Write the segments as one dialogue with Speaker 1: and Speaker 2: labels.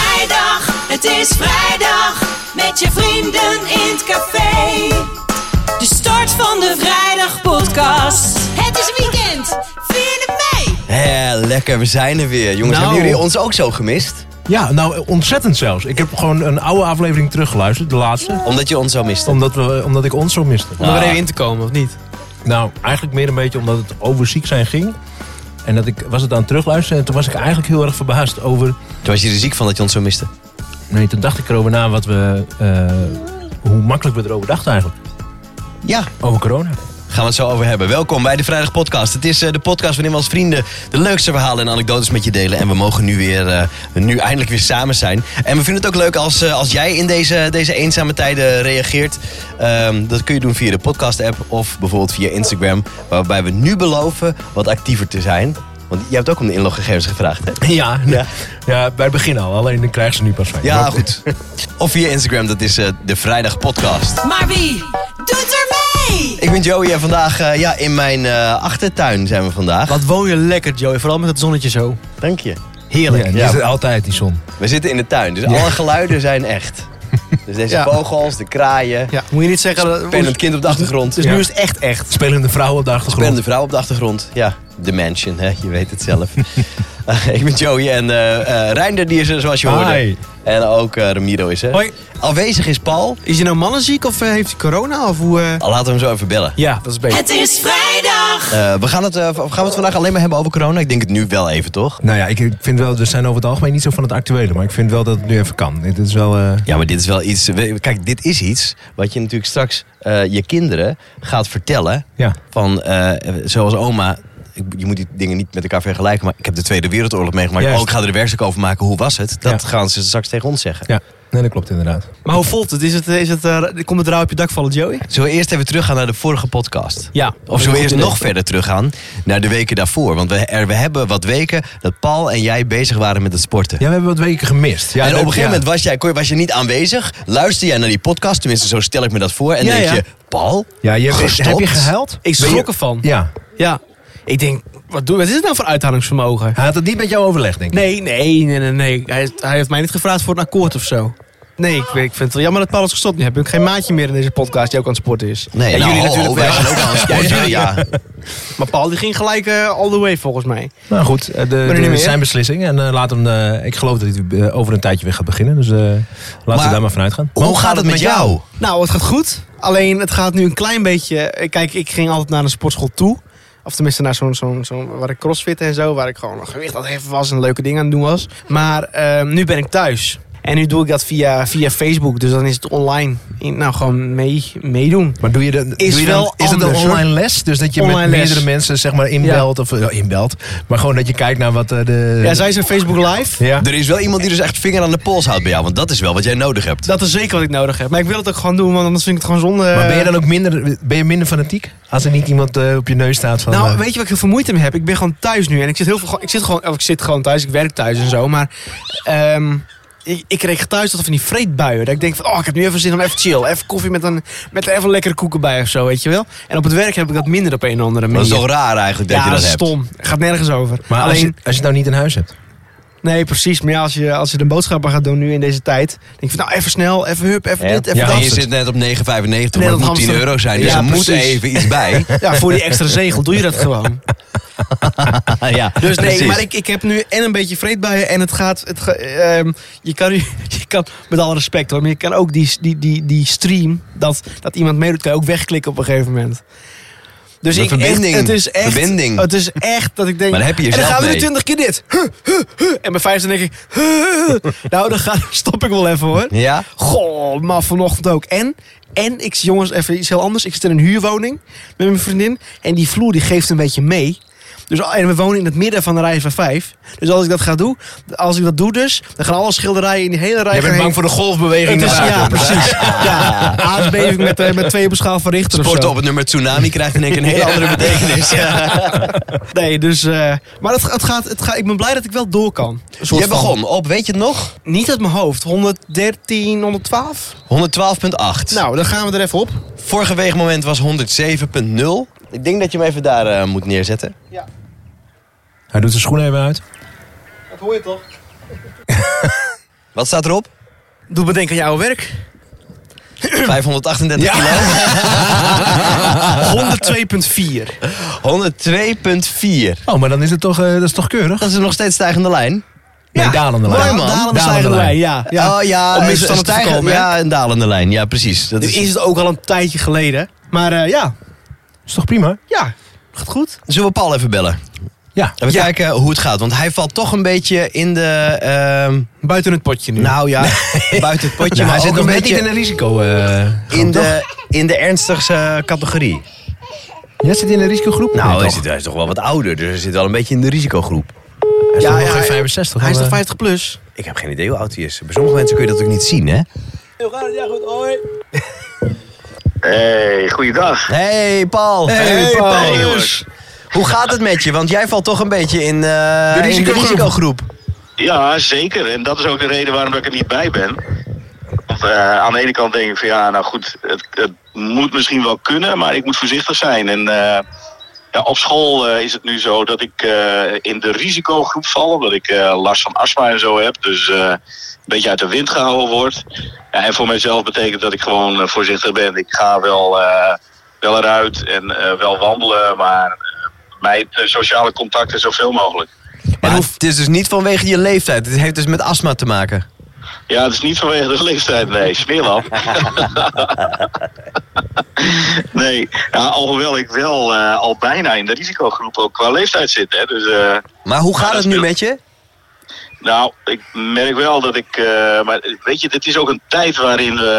Speaker 1: vrijdag, het is vrijdag. Met je vrienden in het café. De start van de vrijdagpodcast. Het is weekend, vierde mei.
Speaker 2: Hé, lekker, we zijn er weer. Jongens,
Speaker 3: Nou.
Speaker 2: hebben jullie ons ook zo gemist?
Speaker 3: Ja, nou ontzettend zelfs. Ik heb gewoon een oude aflevering teruggeluisterd, de laatste.
Speaker 2: Omdat je ons zo miste.
Speaker 3: Omdat, we, omdat ik ons zo miste.
Speaker 4: Om er
Speaker 2: Ah.
Speaker 4: even in te komen, of niet?
Speaker 3: Nou, eigenlijk meer een beetje omdat het over ziek zijn ging. En dat ik was het aan het terugluisteren en toen was ik eigenlijk heel erg verbaasd over...
Speaker 2: Toen was je er ziek van dat je ons zo miste.
Speaker 3: Nee, toen dacht ik erover na wat we, eh, hoe makkelijk we erover dachten eigenlijk.
Speaker 2: Ja.
Speaker 3: Over corona.
Speaker 2: Gaan we het zo over hebben. Welkom bij de Vrijdag Podcast. Het is eh, de podcast waarin we als vrienden de leukste verhalen en anekdotes met je delen. En we mogen nu, weer, eh, nu eindelijk weer samen zijn. En we vinden het ook leuk als, eh, als jij in deze, deze eenzame tijden reageert. Ehm, dat kun je doen via de podcast app of bijvoorbeeld via Instagram. Waarbij we nu beloven wat actiever te zijn. Want jij hebt ook om de inloggegevens gevraagd, hè?
Speaker 3: Ja, ja. bij het begin al. Alleen dan krijgen ze nu pas van.
Speaker 2: Ja,
Speaker 3: Maar-
Speaker 2: goed. Of via Instagram, dat is eh, de Vrijdag Podcast.
Speaker 1: Maar wie doet er mee?
Speaker 2: Ik ben Joey en vandaag eh, ja, in mijn eh, achtertuin zijn we vandaag.
Speaker 4: Wat woon je lekker, Joey. Vooral met dat zonnetje zo.
Speaker 2: Dank je.
Speaker 3: Ja,
Speaker 2: Heerlijk.
Speaker 3: die
Speaker 2: Ja,
Speaker 3: zit altijd die zon.
Speaker 2: We zitten in de tuin, dus alle geluiden zijn echt. Dus deze
Speaker 4: Ja.
Speaker 2: vogels, de kraaien,
Speaker 4: Ja. Moet je niet zeggen... Dat,
Speaker 2: spelend kind op de achtergrond.
Speaker 4: Dus
Speaker 3: Ja.
Speaker 4: nu is het echt echt.
Speaker 3: Spelende vrouwen op de achtergrond.
Speaker 2: Spelende vrouw op de achtergrond. Ja, de mansion, hè? je weet het zelf. Eh, ik ben Joey en eh eh, Reinder, die is er zoals je hoorde.
Speaker 3: Hi.
Speaker 2: En ook eh, Ramiro is er.
Speaker 4: Hoi.
Speaker 2: Afwezig is Paul.
Speaker 4: Is hij nou mannenziek of eh, heeft hij corona? Of hoe... eh?
Speaker 2: Al laten we hem zo even bellen.
Speaker 3: Ja, dat is beter.
Speaker 1: Het is vrijdag.
Speaker 2: Eh, we gaan, het, eh, v- gaan we het vandaag alleen maar hebben over corona? Ik denk het nu wel even, toch?
Speaker 3: Nou ja, ik ik vind wel, we zijn over het algemeen niet zo van het actuele, maar ik vind wel dat het nu even kan. Dit is wel. eh,
Speaker 2: Ja, maar dit is wel iets. we- Kijk, dit is iets wat je natuurlijk straks eh, je kinderen gaat vertellen.
Speaker 3: ja.
Speaker 2: Van eh, zoals oma. ik- Je moet die dingen niet met elkaar vergelijken. Maar ik heb de Tweede Wereldoorlog meegemaakt.
Speaker 3: Juist.
Speaker 2: Oh, ik ga er een werkstuk over maken. Hoe was het? Dat
Speaker 3: Ja.
Speaker 2: gaan ze straks tegen ons zeggen.
Speaker 3: ja, nee, dat klopt inderdaad.
Speaker 4: Maar hoe voelt het? Is het, is het eh, komt het rauw op je dak vallen, Joey?
Speaker 2: Zullen we eerst even teruggaan naar de vorige podcast?
Speaker 4: Ja.
Speaker 2: Of zullen we eerst nog verder teruggaan naar de weken daarvoor? Want we, er, we hebben wat weken dat Paul en jij bezig waren met het sporten.
Speaker 3: Ja, we hebben wat weken gemist. Ja,
Speaker 2: en op een
Speaker 3: dat-
Speaker 2: gegeven
Speaker 3: ja.
Speaker 2: moment was jij, kon je- was je niet aanwezig. Luister jij naar die podcast, tenminste zo stel ik me dat voor. En
Speaker 4: Ja,
Speaker 2: denk
Speaker 4: ja.
Speaker 2: je, Paul,
Speaker 3: Ja, je hebt,
Speaker 2: gestopt?
Speaker 3: heb je gehuild?
Speaker 4: Ik
Speaker 3: Ben je-
Speaker 4: schrok ervan. Ja.
Speaker 3: Ja.
Speaker 4: Ik denk, wat, doe, wat is het nou voor uithoudingsvermogen?
Speaker 3: Hij had het niet met jou overlegd, denk ik.
Speaker 4: Nee, nee, nee, nee. nee. Hij, hij heeft mij niet gevraagd voor een akkoord of zo. Nee, ik, ik vind het wel jammer dat Paul is gestopt. Nu heb ik geen maatje meer in deze podcast die ook aan het sporten is.
Speaker 2: Nee,
Speaker 4: en
Speaker 2: nou,
Speaker 4: jullie
Speaker 2: ho, ho,
Speaker 4: natuurlijk
Speaker 2: wij
Speaker 4: wel.
Speaker 2: zijn ook aan het sporten. Ja,
Speaker 4: Maar Paul die ging gelijk eh, all the way volgens mij.
Speaker 3: Nou goed, eh, de,
Speaker 4: niet
Speaker 3: de-
Speaker 4: meer.
Speaker 3: zijn beslissing. En eh, laat hem, eh, ik geloof dat hij eh, over een tijdje weer gaat beginnen. Dus eh, laten
Speaker 2: Maar-
Speaker 3: we daar maar vanuit gaan.
Speaker 2: Hoe gaat het met jou?
Speaker 4: Nou, het gaat goed. Alleen het gaat nu een klein beetje. eh, Kijk, ik ging altijd naar een sportschool toe. Of tenminste naar zo'n, zo'n, zo'n waar ik crossfit en zo. Waar ik gewoon gewicht aan het heffen was en leuke dingen aan het doen was. Maar ehm, nu ben ik thuis. En nu doe ik dat via, via Facebook. Dus dan is het online. In- nou, gewoon mee, meedoen.
Speaker 3: Maar doe je dat,
Speaker 4: Is
Speaker 3: doe je dan-
Speaker 4: wel
Speaker 3: is het een
Speaker 4: anders,
Speaker 3: online les? Dus dat je met
Speaker 4: Online les.
Speaker 3: meerdere mensen zeg maar inbelt. Of eh, inbelt. Maar gewoon dat je kijkt naar wat eh, de...
Speaker 4: Ja, zij zijn Facebook Live.
Speaker 3: Ja.
Speaker 2: Er is wel iemand die dus echt vinger aan de pols houdt bij jou. Want dat is wel wat jij nodig hebt.
Speaker 4: Dat is zeker wat ik nodig heb. Maar ik wil het ook gewoon doen, want anders vind ik het gewoon zonde.
Speaker 3: Maar ben je dan ook minder, ben je minder fanatiek? Als er niet iemand eh, op je neus staat van...
Speaker 4: Nou,
Speaker 3: eh,
Speaker 4: weet je wat ik heel veel moeite mee heb? Ik ben gewoon thuis nu en ik zit heel veel. Ik zit gewoon, of ik zit gewoon thuis, ik werk thuis en zo. Maar ehm, ik, ik kreeg thuis tot van die vreedbuien. Dat ik denk van, oh, ik heb nu even zin om even chill. Even koffie met een, met even lekkere koeken bij of zo, weet je wel. En op het werk heb ik dat minder op een of andere
Speaker 2: Dat
Speaker 4: manier.
Speaker 2: is toch raar eigenlijk dat
Speaker 4: ja,
Speaker 2: je dat hebt.
Speaker 4: stom. Gaat nergens over.
Speaker 3: maar als,
Speaker 4: Alleen,
Speaker 3: je, als je het nou niet in huis hebt.
Speaker 4: nee, precies. Maar ja, als je, als je de boodschappen gaat doen nu in deze tijd. Denk ik van, nou, even snel, even hup, even
Speaker 2: Ja.
Speaker 4: dit, even
Speaker 3: Ja.
Speaker 2: En
Speaker 4: dat.
Speaker 2: je
Speaker 3: Hamster.
Speaker 2: zit net op 9,95, maar het
Speaker 4: dat
Speaker 2: moet 10
Speaker 4: hamster.
Speaker 2: euro zijn. Dus
Speaker 4: Ja,
Speaker 2: er moet
Speaker 4: precies.
Speaker 2: even iets bij.
Speaker 4: Ja, voor die extra zegel doe je dat gewoon.
Speaker 2: ja,
Speaker 4: Dus nee, maar ik, ik heb nu en een beetje vreedbuien en het gaat... Het ga- ehm, je, kan, nu- je kan, met alle respect hoor, maar je kan ook die, die, die, die stream, dat, dat iemand meedoet, kan je ook wegklikken op een gegeven moment. Dus
Speaker 2: Maar
Speaker 4: ik,
Speaker 2: verbinding,
Speaker 4: echt, het is echt,
Speaker 2: verbinding.
Speaker 4: Het is echt dat ik denk...
Speaker 2: Maar daar heb je
Speaker 4: en dan
Speaker 2: jezelf
Speaker 4: gaan we nu
Speaker 2: mee.
Speaker 4: twintig keer dit. Huh, huh, huh. En bij vijf denk ik... huh, huh, huh. nou, dan ga, stop ik wel even hoor.
Speaker 2: Ja?
Speaker 4: Goh, maar vanochtend ook. En, en ik, jongens, even iets heel anders. Ik zit in een huurwoning met mijn vriendin. En die vloer die geeft een beetje mee. Dus, en we wonen in het midden van de rij van vijf. Dus als ik dat ga doen, als ik dat doe dus, dan gaan alle schilderijen in die hele rij
Speaker 3: Je bent
Speaker 4: gaan
Speaker 3: bang
Speaker 4: heen.
Speaker 3: voor de golfbeweging.
Speaker 4: Het is-
Speaker 3: daarna.
Speaker 4: ja, precies. Ja, aardbeving met, eh, met twee op een schaal van Richter of
Speaker 2: Sporten
Speaker 4: zo.
Speaker 2: op het nummer Tsunami krijgt in één keer een hele andere betekenis.
Speaker 4: Nee, dus... eh, maar het, het gaat, het gaat, ik ben blij dat ik wel door kan. Een soort
Speaker 2: Je
Speaker 4: van.
Speaker 2: begon op, weet je het nog? 112,8.
Speaker 4: Niet uit mijn hoofd. 113, 112? Nou, dan gaan we er even op.
Speaker 2: Vorige weegmoment was 107,0. Ik denk dat je hem even daar eh, moet neerzetten.
Speaker 3: Hij doet zijn schoenen even uit.
Speaker 4: Dat hoor je toch?
Speaker 2: Wat staat erop?
Speaker 4: Doe me denken aan je oude werk.
Speaker 2: 538 kilo.
Speaker 4: 102,4.
Speaker 2: 102,4.
Speaker 3: Oh, maar dan is het toch, eh, dat is toch keurig?
Speaker 2: Dat is nog steeds stijgende lijn.
Speaker 3: Nee,
Speaker 4: Ja.
Speaker 3: dalende lijn.
Speaker 2: Mooi, man.
Speaker 4: Dalende stijgende lijn, ja. ja.
Speaker 2: Oh ja,
Speaker 4: Om
Speaker 2: een
Speaker 4: misverstanden te
Speaker 2: stijgen-
Speaker 4: voorkomen, hè?
Speaker 2: Ja, een dalende lijn. Ja, precies. Dat
Speaker 4: Nu
Speaker 2: is...
Speaker 4: is het ook al een tijdje geleden. Maar eh, ja,
Speaker 3: Is toch prima?
Speaker 4: ja, gaat goed.
Speaker 2: Zullen we Paul even bellen?
Speaker 3: Ja.
Speaker 2: Even kijken hoe het gaat. Want hij valt toch een beetje in de... ehm,
Speaker 4: Buiten het potje nu.
Speaker 2: nou ja, buiten het potje.
Speaker 3: Nou,
Speaker 2: maar hij zit
Speaker 3: ook
Speaker 2: nog een
Speaker 3: net
Speaker 2: beetje
Speaker 3: niet in een risico. eh
Speaker 2: in de, in de ernstigste categorie.
Speaker 3: Jij zit in een risicogroep?
Speaker 2: Nou, hij,
Speaker 3: is
Speaker 2: zit, hij is toch wel wat ouder, dus hij zit wel een beetje in de risicogroep.
Speaker 3: Hij is
Speaker 4: Ja,
Speaker 3: toch nog
Speaker 4: ja,
Speaker 3: geen
Speaker 4: hij-
Speaker 3: 65?
Speaker 4: Hij is
Speaker 3: dan,
Speaker 4: toch
Speaker 3: eh,
Speaker 4: 50 plus?
Speaker 2: Ik heb geen idee hoe oud hij is. Bij sommige mensen kun je dat ook niet zien, hè?
Speaker 5: Hey, goeiedag.
Speaker 2: Hey, Paul.
Speaker 4: Hey, Paul.
Speaker 5: Hey,
Speaker 4: jongens.
Speaker 5: jongens.
Speaker 2: Hoe gaat het met je? Want jij valt toch een beetje in, eh, in de
Speaker 4: risicogroep.
Speaker 2: risicogroep.
Speaker 5: Ja, zeker. En dat is ook de reden waarom ik er niet bij ben. Want eh, aan de ene kant denk ik van ja, nou goed, het, het moet misschien wel kunnen, maar ik moet voorzichtig zijn. En eh, ja, op school eh, is het nu zo dat ik eh, in de risicogroep val, omdat ik eh, last van astma en zo heb. Dus eh, een beetje uit de wind gehouden word. Ja, en voor mijzelf betekent dat ik gewoon eh, voorzichtig ben. Ik ga wel, eh, wel eruit en eh, wel wandelen, maar eh, mijn eh, sociale contacten zoveel mogelijk.
Speaker 2: Maar het is dus niet vanwege je leeftijd. Het heeft dus met astma te maken.
Speaker 5: Ja, het is niet vanwege de leeftijd, nee. Smeerlap. nee, ja, alhoewel ik wel eh, al bijna in de risicogroep ook qua leeftijd zit. Hè. Dus, eh,
Speaker 2: Maar hoe gaat
Speaker 5: Ja,
Speaker 2: het
Speaker 5: dat
Speaker 2: nu
Speaker 5: speelt.
Speaker 2: met je?
Speaker 5: nou, ik merk wel dat ik... eh, maar weet je, dit is ook een tijd waarin we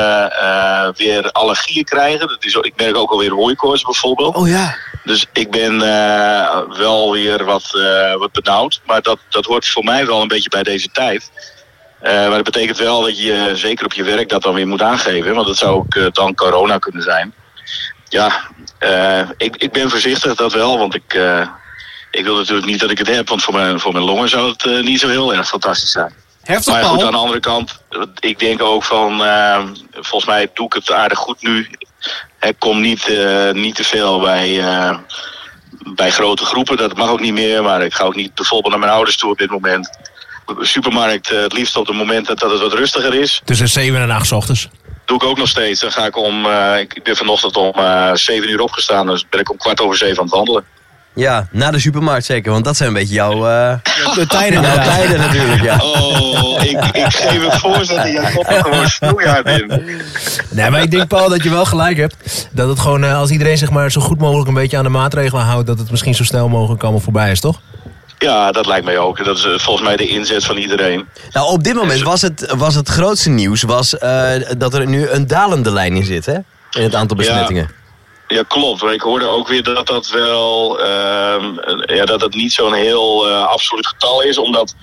Speaker 5: eh, weer allergieën krijgen. Dat is, ook- ik merk ook alweer hooikoorts bijvoorbeeld.
Speaker 4: Oh ja.
Speaker 5: Dus ik ben eh, wel weer wat, eh, wat benauwd. Maar dat, dat hoort voor mij wel een beetje bij deze tijd. Eh, maar dat betekent wel dat je eh, zeker op je werk dat dan weer moet aangeven. Want dat zou ook eh, dan corona kunnen zijn. Ja, eh, ik, ik ben voorzichtig, dat wel. Want ik, eh, ik wil natuurlijk niet dat ik het heb. Want voor mijn, voor mijn longen zou het eh, niet zo heel erg fantastisch zijn.
Speaker 4: Heftig,
Speaker 5: Maar goed, aan
Speaker 4: Paul.
Speaker 5: de andere kant, ik denk ook van, eh, volgens mij doe ik het aardig goed nu. Ik kom niet, eh, niet te veel bij, eh, bij grote groepen, dat mag ook niet meer. Maar ik ga ook niet bijvoorbeeld naar mijn ouders toe op dit moment. Supermarkt, eh, het liefst op het moment dat, dat het wat rustiger is.
Speaker 3: Tussen 7 en 8 's ochtends.
Speaker 5: Doe ik ook nog steeds. Dan ga ik om, eh, ik ben vanochtend om eh 7 uur opgestaan, dus ben ik om kwart over zeven aan het wandelen.
Speaker 2: Ja, na de supermarkt zeker. Want dat zijn een beetje jouw, eh,
Speaker 4: De tijden
Speaker 3: Nou,
Speaker 2: jouw
Speaker 4: inderdaad.
Speaker 2: tijden natuurlijk. Ja.
Speaker 5: Oh, ik, ik geef het voor dat ik Jacob gewoon snoeihard in.
Speaker 3: Nee, maar ik denk, Paul, dat je wel gelijk hebt. Dat het gewoon, eh, als iedereen zeg maar, zo goed mogelijk een beetje aan de maatregelen houdt... dat het misschien zo snel mogelijk allemaal voorbij is, toch?
Speaker 5: Ja, dat lijkt mij ook. Dat is eh, volgens mij de inzet van iedereen.
Speaker 2: Nou, op dit moment was het, was het grootste nieuws was, eh, dat er nu een dalende lijn in zit, hè? In het aantal besmettingen.
Speaker 5: Ja, klopt. Maar ik hoorde ook weer dat dat wel ehm, eh, ja, dat dat niet zo'n heel eh, absoluut getal is. Omdat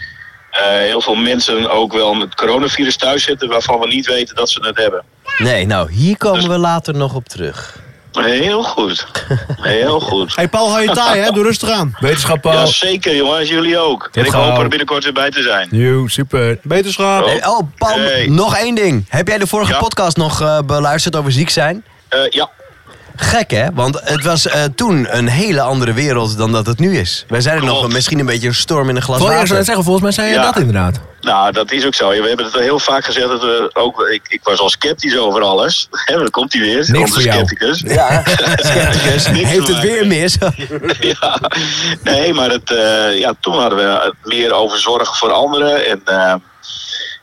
Speaker 5: eh, heel veel mensen ook wel met coronavirus thuis zitten waarvan we niet weten dat ze het hebben.
Speaker 2: Nee, nou, hier komen we later nog op terug.
Speaker 5: Heel goed. Heel goed.
Speaker 4: Hey Paul, hou je taai, hè? Doe rustig aan.
Speaker 3: Wetenschap,
Speaker 5: Ja,
Speaker 3: Paul.
Speaker 5: zeker jongens, jullie ook. En ik
Speaker 3: gauw.
Speaker 5: hoop er binnenkort weer bij te zijn.
Speaker 3: Yo, super.
Speaker 4: Beterschap.
Speaker 5: Oh.
Speaker 2: Hey, oh, Paul,
Speaker 5: Hey.
Speaker 2: nog één ding. Heb jij de vorige
Speaker 5: Ja.
Speaker 2: podcast nog eh, beluisterd over ziek zijn?
Speaker 5: Eh, ja,
Speaker 2: Gek hè, want het was eh, toen een hele andere wereld dan dat het nu is. Wij zijn er nog
Speaker 5: Klopt.
Speaker 2: een- misschien een beetje een storm in een glas
Speaker 3: Paul, ja, ik zou
Speaker 2: water.
Speaker 3: net zeggen, volgens mij zei je
Speaker 5: Ja.
Speaker 3: dat inderdaad.
Speaker 5: Nou, dat is ook zo. Ja, We hebben het al heel vaak gezegd. Dat we ook, ik, ik was al sceptisch over alles. Hè, maar Dan komt hij weer. onze
Speaker 3: voor jou.
Speaker 5: scepticus.
Speaker 2: Ja, scepticus.
Speaker 5: Niks
Speaker 2: Heeft
Speaker 5: te
Speaker 2: het weer
Speaker 5: maken.
Speaker 2: mis?
Speaker 5: ja. Nee, maar het, eh, ja, toen hadden we het meer over zorgen voor anderen. En, eh,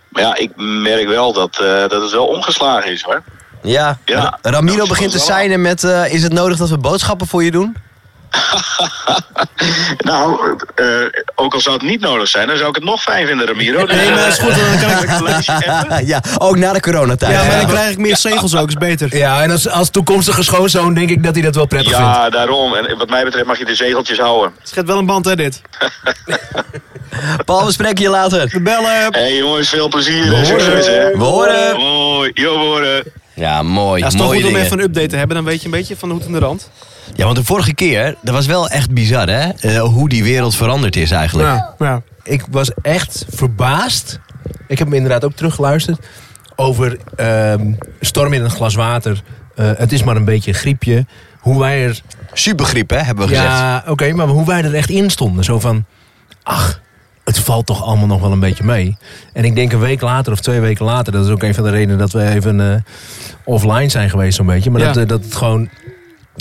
Speaker 5: maar ja, ik merk wel dat, eh, dat het wel omgeslagen is hoor.
Speaker 2: ja.
Speaker 5: Ja.
Speaker 2: Ra-
Speaker 5: Dat
Speaker 2: Ramiro
Speaker 5: is
Speaker 2: begint te
Speaker 5: wel waar.
Speaker 2: zijn met... eh, is het nodig dat we boodschappen voor je doen?
Speaker 5: Nou, eh, eh, ook al zou het niet nodig zijn, dan zou ik het nog fijn vinden, Ramiro.
Speaker 4: Nee, maar dat is goed, dan kan ik-
Speaker 5: ik het lezen appen.
Speaker 2: ja, ook na de coronatijd.
Speaker 4: Ja, maar
Speaker 2: Ja.
Speaker 4: dan krijg ik meer zegels ook, is beter.
Speaker 3: Ja, en als, als toekomstige schoonzoon denk ik dat hij dat wel prettig vindt.
Speaker 5: Ja, daarom. En wat mij betreft mag je de zegeltjes houden.
Speaker 4: Het schept wel een band, hè, dit.
Speaker 2: Paul, we spreken je later.
Speaker 4: De bellen.
Speaker 5: Hé hey, jongens, veel plezier en succes hè.
Speaker 2: We horen.
Speaker 5: Hoi, yo, we horen.
Speaker 2: Ja, mooi.
Speaker 4: Ja, het is toch
Speaker 2: mooie
Speaker 4: goed om
Speaker 2: dingen.
Speaker 4: even een update te hebben. Dan weet je een beetje van de hoed en de rand.
Speaker 2: Ja, want de vorige keer, dat was wel echt bizar, hè? Eh, hoe die wereld veranderd is eigenlijk.
Speaker 3: Ja.
Speaker 4: Ja.
Speaker 3: Ik was echt verbaasd. Ik heb hem inderdaad ook teruggeluisterd. Over ehm, storm in een glas water. Eh, het is maar een beetje een griepje. Hoe wij er
Speaker 2: Supergriep, hè, hebben we gezegd.
Speaker 3: Ja, oké, maar hoe wij er echt in stonden. Zo van, ach, het valt toch allemaal nog wel een beetje mee. En ik denk een week later of twee weken later, dat is ook een van de redenen dat we even eh, offline zijn geweest, zo'n beetje. Maar
Speaker 4: Ja.
Speaker 3: dat, eh, dat, het gewoon,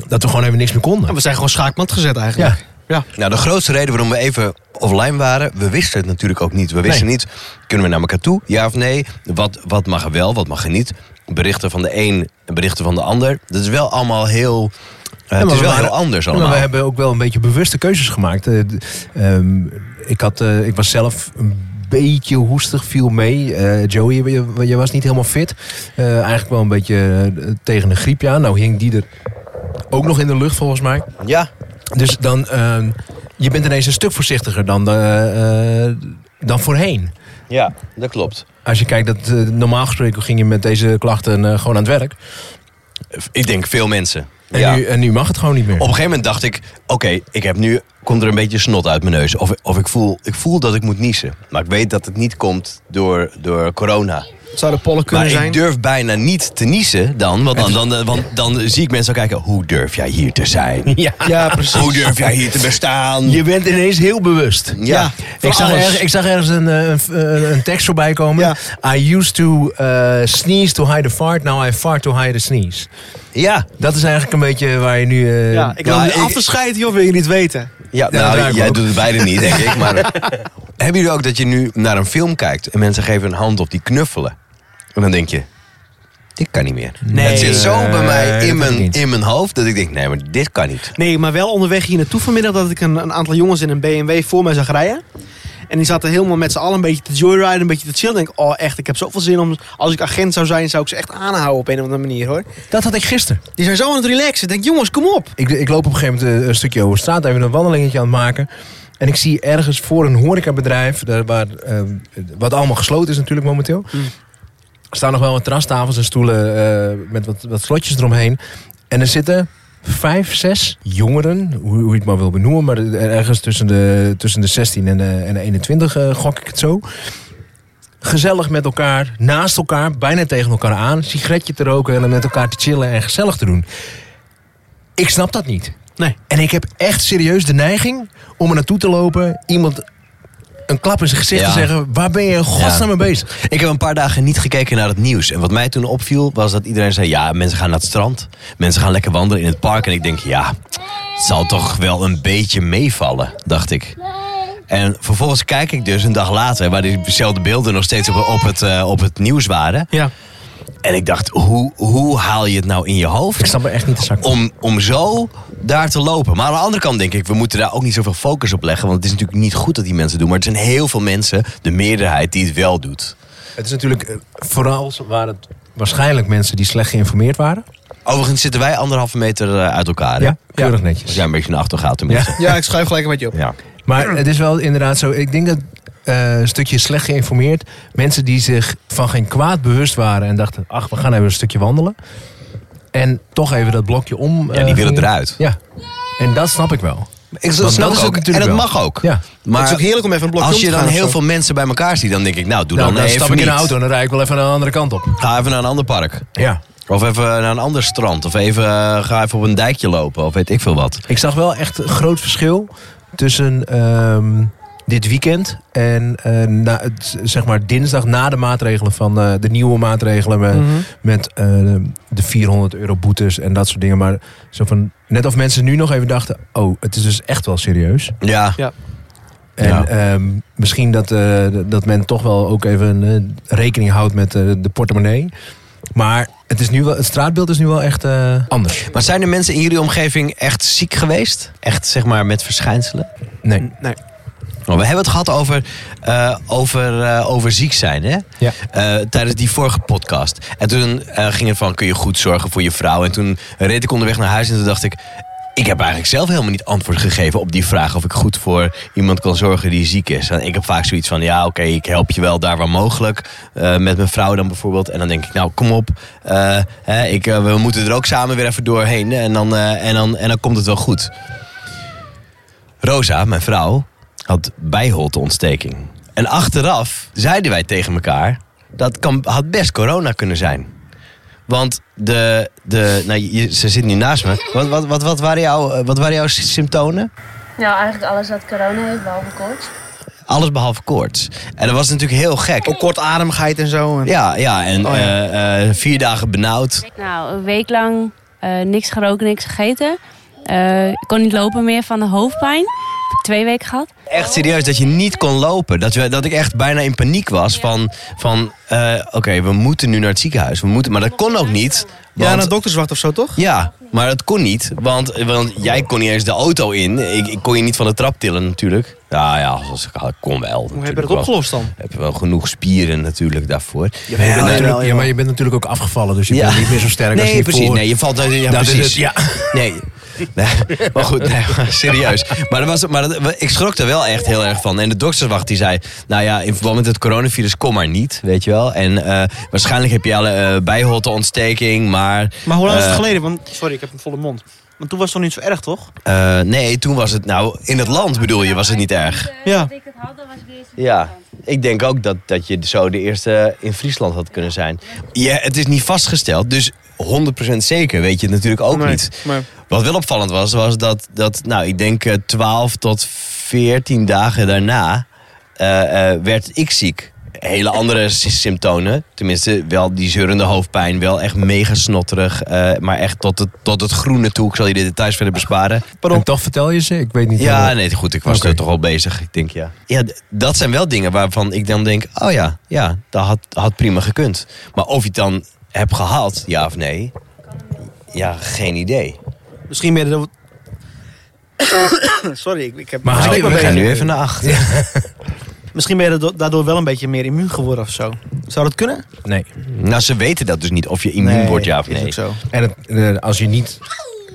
Speaker 3: dat we gewoon even niks meer konden.
Speaker 4: We zijn gewoon schaakmat gezet
Speaker 3: Ja.
Speaker 4: eigenlijk. Ja.
Speaker 2: Nou, de grootste reden waarom we even offline waren, we wisten het natuurlijk ook niet. We wisten
Speaker 3: Nee.
Speaker 2: niet, kunnen we naar elkaar toe, ja of nee? Wat, wat mag er wel, wat mag er niet? Berichten van de een en berichten van de ander. Dat is wel allemaal heel... eh,
Speaker 3: Ja,
Speaker 2: het
Speaker 3: maar
Speaker 2: is
Speaker 3: we
Speaker 2: wel
Speaker 3: waren-
Speaker 2: heel anders
Speaker 3: Ja, maar
Speaker 2: allemaal.
Speaker 3: we hebben ook wel een beetje bewuste keuzes gemaakt. Eh, d- ehm, ik, had, eh, ik was zelf een beetje hoestig, viel mee. Eh, Joey, je, je was niet helemaal fit. Eh, eigenlijk wel een beetje eh, tegen een griepje aan. Nou hing die er ook nog in de lucht volgens mij.
Speaker 2: Ja,
Speaker 3: Dus dan, ehm, je bent ineens een stuk voorzichtiger dan, eh, eh, dan voorheen.
Speaker 2: ja, dat klopt.
Speaker 3: Als je kijkt, dat, eh, normaal gesproken ging je met deze klachten eh, gewoon aan het werk.
Speaker 2: Ik denk veel mensen.
Speaker 3: En,
Speaker 2: ja.
Speaker 3: nu, en nu mag het gewoon niet meer.
Speaker 2: Op een gegeven moment dacht ik, oké, ik heb nu komt er een beetje snot uit mijn neus. Of, of ik, voel, ik voel dat ik moet niezen. Maar ik weet dat het niet komt door, door corona.
Speaker 4: Zou de pollen kunnen
Speaker 2: Maar
Speaker 4: zijn?
Speaker 2: ik durf bijna niet te niezen dan. Want dan, dan, dan, want dan zie ik mensen al kijken, hoe durf jij hier te zijn?
Speaker 3: Ja.
Speaker 4: Ja, precies.
Speaker 2: Hoe durf jij hier te bestaan?
Speaker 3: Je bent ineens heel bewust.
Speaker 2: Ja.
Speaker 3: Ik zag,
Speaker 2: alles.
Speaker 3: ergens, ik zag ergens een, eh, een, eh, een tekst voorbij komen. I used to eh, sneeze to hide a fart. Now I fart to hide a sneeze.
Speaker 2: Ja,
Speaker 3: Dat is eigenlijk een beetje waar je nu... eh,
Speaker 4: Ja, ik
Speaker 2: Ja,
Speaker 4: wil
Speaker 2: ik-
Speaker 4: niet afscheid, joh, wil je niet weten.
Speaker 2: ja,
Speaker 3: dat
Speaker 2: nou,
Speaker 3: ruikt me
Speaker 2: jij
Speaker 3: ook.
Speaker 2: doet het beide niet, denk ik. Maar hebben jullie ook dat je nu naar een film kijkt en mensen geven een hand op die knuffelen? En dan denk je, dit kan niet meer.
Speaker 4: Nee.
Speaker 2: het zit zo bij
Speaker 3: Nee,
Speaker 2: mij
Speaker 3: dat
Speaker 2: in
Speaker 3: kan
Speaker 2: mijn,
Speaker 3: niet.
Speaker 2: in mijn hoofd dat ik denk, nee, maar dit kan niet.
Speaker 4: Nee, maar wel onderweg hier naartoe vanmiddag dat ik een, een aantal jongens in een BMW voor mij zag rijden. En die zaten helemaal met z'n allen een beetje te joyriden, een beetje te chillen. Ik denk, oh echt, ik heb zoveel zin om... Als ik agent zou zijn, zou ik ze echt aanhouden op een of andere manier, hoor.
Speaker 3: Dat had ik gisteren.
Speaker 4: Die zijn zo aan het relaxen. Ik denk, jongens, kom op.
Speaker 3: Ik, ik loop op een gegeven moment eh, een stukje over straat, even een wandelingetje aan het maken. En ik zie ergens voor een horecabedrijf, daar waar, eh, wat allemaal gesloten is natuurlijk momenteel. Er staan nog wel wat terrastafels en stoelen eh, met wat, wat slotjes eromheen. En er zitten vijf, zes jongeren, hoe, hoe je het maar wil benoemen. Maar er- ergens tussen de, tussen de 16 en de, en de 21 eh, gok ik het zo. Gezellig met elkaar, naast elkaar, bijna tegen elkaar aan. Sigaretje te roken en dan met elkaar te chillen en gezellig te doen. Ik snap dat niet.
Speaker 4: Nee.
Speaker 3: En ik heb echt serieus de neiging om er naartoe te lopen, iemand een klap in zijn gezicht
Speaker 2: Ja.
Speaker 3: te zeggen: waar ben je in godsnaam mee bezig?
Speaker 2: Ik heb een paar dagen niet gekeken naar het nieuws. En wat mij toen opviel was dat iedereen zei: ja, mensen gaan naar het strand. Mensen gaan lekker wandelen in het park. En ik denk: ja, het zal toch wel een beetje meevallen, dacht ik. En vervolgens kijk ik dus een dag later, waar diezelfde beelden nog steeds op, op, het, eh, op het nieuws waren.
Speaker 4: Ja.
Speaker 2: En ik dacht: hoe, hoe haal je het nou in je hoofd?
Speaker 3: Ik snap er echt niet de zak van.
Speaker 2: om, om zo daar te lopen. Maar aan de andere kant denk ik, we moeten daar ook niet zoveel focus op leggen. Want het is natuurlijk niet goed dat die mensen doen. Maar er zijn heel veel mensen, de meerderheid, die het wel doet.
Speaker 3: Het is natuurlijk eh, vooral waren het waarschijnlijk mensen die slecht geïnformeerd waren.
Speaker 2: Overigens zitten wij anderhalve meter eh, uit elkaar. hè?
Speaker 3: Ja, keurig netjes.
Speaker 2: Als jij een beetje naar achter gaat tenminste.
Speaker 4: Ja, ik schuif gelijk een beetje op.
Speaker 2: Ja.
Speaker 3: Maar het is wel inderdaad zo. Ik denk dat eh, een stukje slecht geïnformeerd. Mensen die zich van geen kwaad bewust waren en dachten: ach, we gaan even een stukje wandelen. En toch even dat blokje om.
Speaker 2: Ja,
Speaker 3: eh,
Speaker 2: die willen
Speaker 3: gingen.
Speaker 2: eruit.
Speaker 3: Ja. En dat snap ik wel.
Speaker 2: Ik
Speaker 3: Want
Speaker 2: snap
Speaker 3: dat
Speaker 2: het
Speaker 3: is ook
Speaker 2: ook. En
Speaker 3: natuurlijk
Speaker 2: dat
Speaker 3: wel.
Speaker 2: mag ook.
Speaker 3: Ja.
Speaker 2: Maar
Speaker 4: het is ook heerlijk om even een blokje
Speaker 2: als
Speaker 4: om
Speaker 2: je
Speaker 4: te
Speaker 2: dan
Speaker 4: gaan of
Speaker 2: heel
Speaker 4: zo.
Speaker 2: veel mensen bij elkaar ziet, dan denk ik, nou, doe
Speaker 3: Nou,
Speaker 2: dan,
Speaker 3: dan
Speaker 2: even
Speaker 3: stap ik in de
Speaker 2: niet.
Speaker 3: auto en dan rijd ik wel even aan de andere kant op.
Speaker 2: Ga even naar een ander park.
Speaker 3: Ja.
Speaker 2: Of even naar een ander strand. Of even, eh, ga even op een dijkje lopen. Of weet ik veel wat.
Speaker 3: Ik zag wel echt een groot verschil tussen ehm, dit weekend en eh, na, het- zeg maar dinsdag na de maatregelen van eh, de nieuwe maatregelen met, met eh, de 400 euro boetes en dat soort dingen. Maar zo van, net of mensen nu nog even dachten, oh, het is dus echt wel serieus.
Speaker 2: Ja.
Speaker 4: Ja.
Speaker 3: En
Speaker 2: Ja.
Speaker 3: ehm, misschien dat, eh, dat men toch wel ook even eh, rekening houdt met eh, de portemonnee. Maar het, is nu wel, het straatbeeld is nu wel echt eh, anders.
Speaker 2: Maar zijn er mensen in jullie omgeving echt ziek geweest? Echt zeg maar met verschijnselen?
Speaker 3: Nee.
Speaker 4: Nee.
Speaker 2: Nou, we hebben het gehad over, eh, over, eh, over ziek zijn, hè?
Speaker 3: Ja.
Speaker 2: Eh, tijdens die vorige podcast. En toen eh, ging het van, kun je goed zorgen voor je vrouw? En toen reed ik onderweg naar huis en toen dacht ik... Ik heb eigenlijk zelf helemaal niet antwoord gegeven op die vraag... of ik goed voor iemand kan zorgen die ziek is. En ik heb vaak zoiets van, ja, oké, ik help je wel daar waar mogelijk. eh, met mijn vrouw dan bijvoorbeeld. En dan denk ik, nou, kom op. eh, hè, ik, eh, we moeten er ook samen weer even doorheen. En dan, eh, en dan, en dan komt het wel goed. Rosa, mijn vrouw, had bijholteontsteking. En achteraf zeiden wij tegen elkaar... dat kan, had best corona kunnen zijn. Want de... de nou, je- ze zit nu naast me. Wat, wat, wat, wat, waren jouw, eh, wat waren jouw symptomen?
Speaker 6: Nou, eigenlijk alles wat corona heeft, behalve koorts.
Speaker 2: Alles behalve koorts. En dat was natuurlijk heel gek.
Speaker 4: Ook kortademigheid en zo. En...
Speaker 2: Ja, ja, en
Speaker 4: Oh, ja.
Speaker 2: eh, eh, vier dagen benauwd.
Speaker 6: Nou, een week lang eh, niks geroken, niks gegeten. Eh, ik kon niet lopen meer van de hoofdpijn. Heb ik twee weken gehad.
Speaker 2: Echt serieus, dat je niet kon lopen. Dat, we, dat ik echt bijna in paniek was van... van eh, Oké, we moeten nu naar het ziekenhuis. We moeten, maar dat kon ook niet.
Speaker 4: Ja,
Speaker 2: Want,
Speaker 4: een dokterswacht of zo, toch?
Speaker 2: ja, maar dat kon niet. Want, want jij kon niet eens de auto in. Ik, ik kon je niet van de trap tillen natuurlijk. Ja, ja, als ik kon wel.
Speaker 4: Hoe heb
Speaker 2: natuurlijk
Speaker 4: je dat
Speaker 2: wel.
Speaker 4: opgelost dan?
Speaker 2: Heb je wel genoeg spieren natuurlijk daarvoor.
Speaker 4: Ja, maar je bent natuurlijk-
Speaker 3: ja, maar je bent natuurlijk ook afgevallen, dus je bent niet meer zo sterk als
Speaker 2: nee,
Speaker 3: je
Speaker 2: precies.
Speaker 3: hiervoor.
Speaker 2: Nee, je valt uit. Ja,
Speaker 3: Dat is
Speaker 2: precies.
Speaker 3: het, ja.
Speaker 2: Nee. nee. Maar goed, nee, maar serieus. Maar, dat was, maar dat- ik schrok er wel echt heel erg van. En de dokterswacht die zei... Nou ja, in verband met het coronavirus, kom maar niet. Weet je wel. En eh, waarschijnlijk heb je al eh bijholteontsteking. Maar
Speaker 7: Maar hoe lang is het
Speaker 2: Eh,
Speaker 7: geleden? Want, sorry, ik heb een volle mond. Want toen was het nog niet zo erg, toch?
Speaker 2: eh, nee, toen was het... Nou, in het land bedoel je, was het niet erg.
Speaker 7: Ja.
Speaker 6: Eh, Dat ik het had, dan was ik de eerste
Speaker 2: Ja,
Speaker 6: van.
Speaker 2: ik denk ook dat, dat je zo de eerste in Friesland had kunnen zijn. Ja, het is niet vastgesteld, dus 100% zeker weet je het natuurlijk ook
Speaker 4: Nee,
Speaker 2: niet.
Speaker 4: nee.
Speaker 2: Wat wel opvallend was, was dat, dat nou, ik denk eh, 12 tot 14 dagen daarna eh, eh, werd ik ziek. Hele andere sy- symptomen. Tenminste, wel die zeurende hoofdpijn. Wel echt mega snotterig. eh, maar echt tot het, tot het groene toe. Ik zal je de details verder besparen.
Speaker 3: En toch vertel je ze? Ik weet niet.
Speaker 2: Ja,
Speaker 3: helemaal.
Speaker 2: nee, goed, ik was
Speaker 3: Oké.
Speaker 2: er toch al bezig. Ik denk, ja. Ja, d- dat zijn wel dingen waarvan ik dan denk, oh ja, ja, dat had, had prima gekund. Maar of je het dan hebt gehaald, ja of nee, ja, geen idee.
Speaker 4: Misschien meer de... Sorry, ik, ik heb...
Speaker 3: Maar
Speaker 4: misschien
Speaker 3: hou je-
Speaker 4: ben
Speaker 2: We
Speaker 3: ben
Speaker 2: gaan
Speaker 4: je-
Speaker 2: nu even naar achter.
Speaker 7: Misschien ben je daardoor- daardoor wel een beetje meer immuun geworden of zo. Zou dat kunnen?
Speaker 3: nee.
Speaker 2: Nou, ze weten dat dus niet, of je immuun wordt, ja of
Speaker 4: Is
Speaker 2: nee.
Speaker 4: ook zo.
Speaker 3: En het- eh, als je niet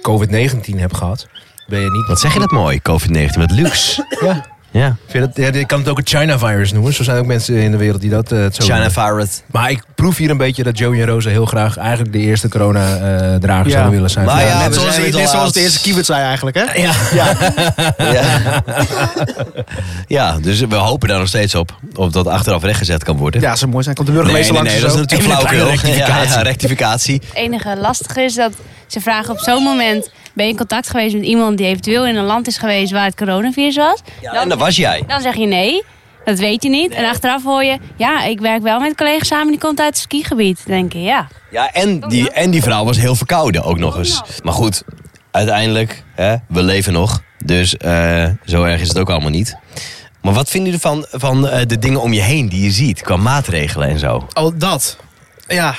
Speaker 3: COVID-19 hebt gehad, ben je niet.
Speaker 2: Wat zeg je dat mooi, COVID-19, wat luxe.
Speaker 3: Ja.
Speaker 2: Ja,
Speaker 3: Vind je dat, ja, je kan het ook het China-virus noemen. Zo zijn ook mensen in de wereld die dat eh, het zo
Speaker 2: China
Speaker 3: noemen.
Speaker 2: Virus.
Speaker 3: Maar ik proef hier een beetje dat Joey en Rosa heel graag eigenlijk de eerste corona-dragers
Speaker 4: Ja.
Speaker 3: zouden willen zijn.
Speaker 2: Maar ja,
Speaker 4: net
Speaker 2: we
Speaker 4: zoals,
Speaker 2: zijn
Speaker 4: net
Speaker 2: het al
Speaker 4: zoals
Speaker 2: laat.
Speaker 4: de eerste keyword zei eigenlijk, hè?
Speaker 2: Ja. ja, dus we hopen daar nog steeds op, of dat achteraf rechtgezet kan worden.
Speaker 4: Ja, ze mooi zijn. Komt de
Speaker 2: Nee,
Speaker 4: burgemeester
Speaker 2: nee,
Speaker 4: langs
Speaker 2: nee,
Speaker 4: en
Speaker 2: dat is
Speaker 4: zo.
Speaker 2: natuurlijk
Speaker 4: Even een kleine
Speaker 2: flauwkul. Ja,
Speaker 4: rectificatie.
Speaker 2: ja, rectificatie.
Speaker 6: Het enige lastige is dat ze vragen op zo'n moment... ben je in contact geweest met iemand die eventueel in een land is geweest... waar het coronavirus was?
Speaker 2: en dat was jij.
Speaker 6: Dan zeg je nee, dat weet je niet. En achteraf hoor je... ja, ik werk wel met collega's samen, die komt uit het skigebied. Dan denk je, ja.
Speaker 2: Ja, en die, en die vrouw was heel verkouden ook nog eens. Maar goed, uiteindelijk, hè, we leven nog. Dus eh, zo erg is het ook allemaal niet. Maar wat vinden jullie ervan van eh, de dingen om je heen die je ziet? Qua maatregelen en zo.
Speaker 4: Oh, dat. Ja,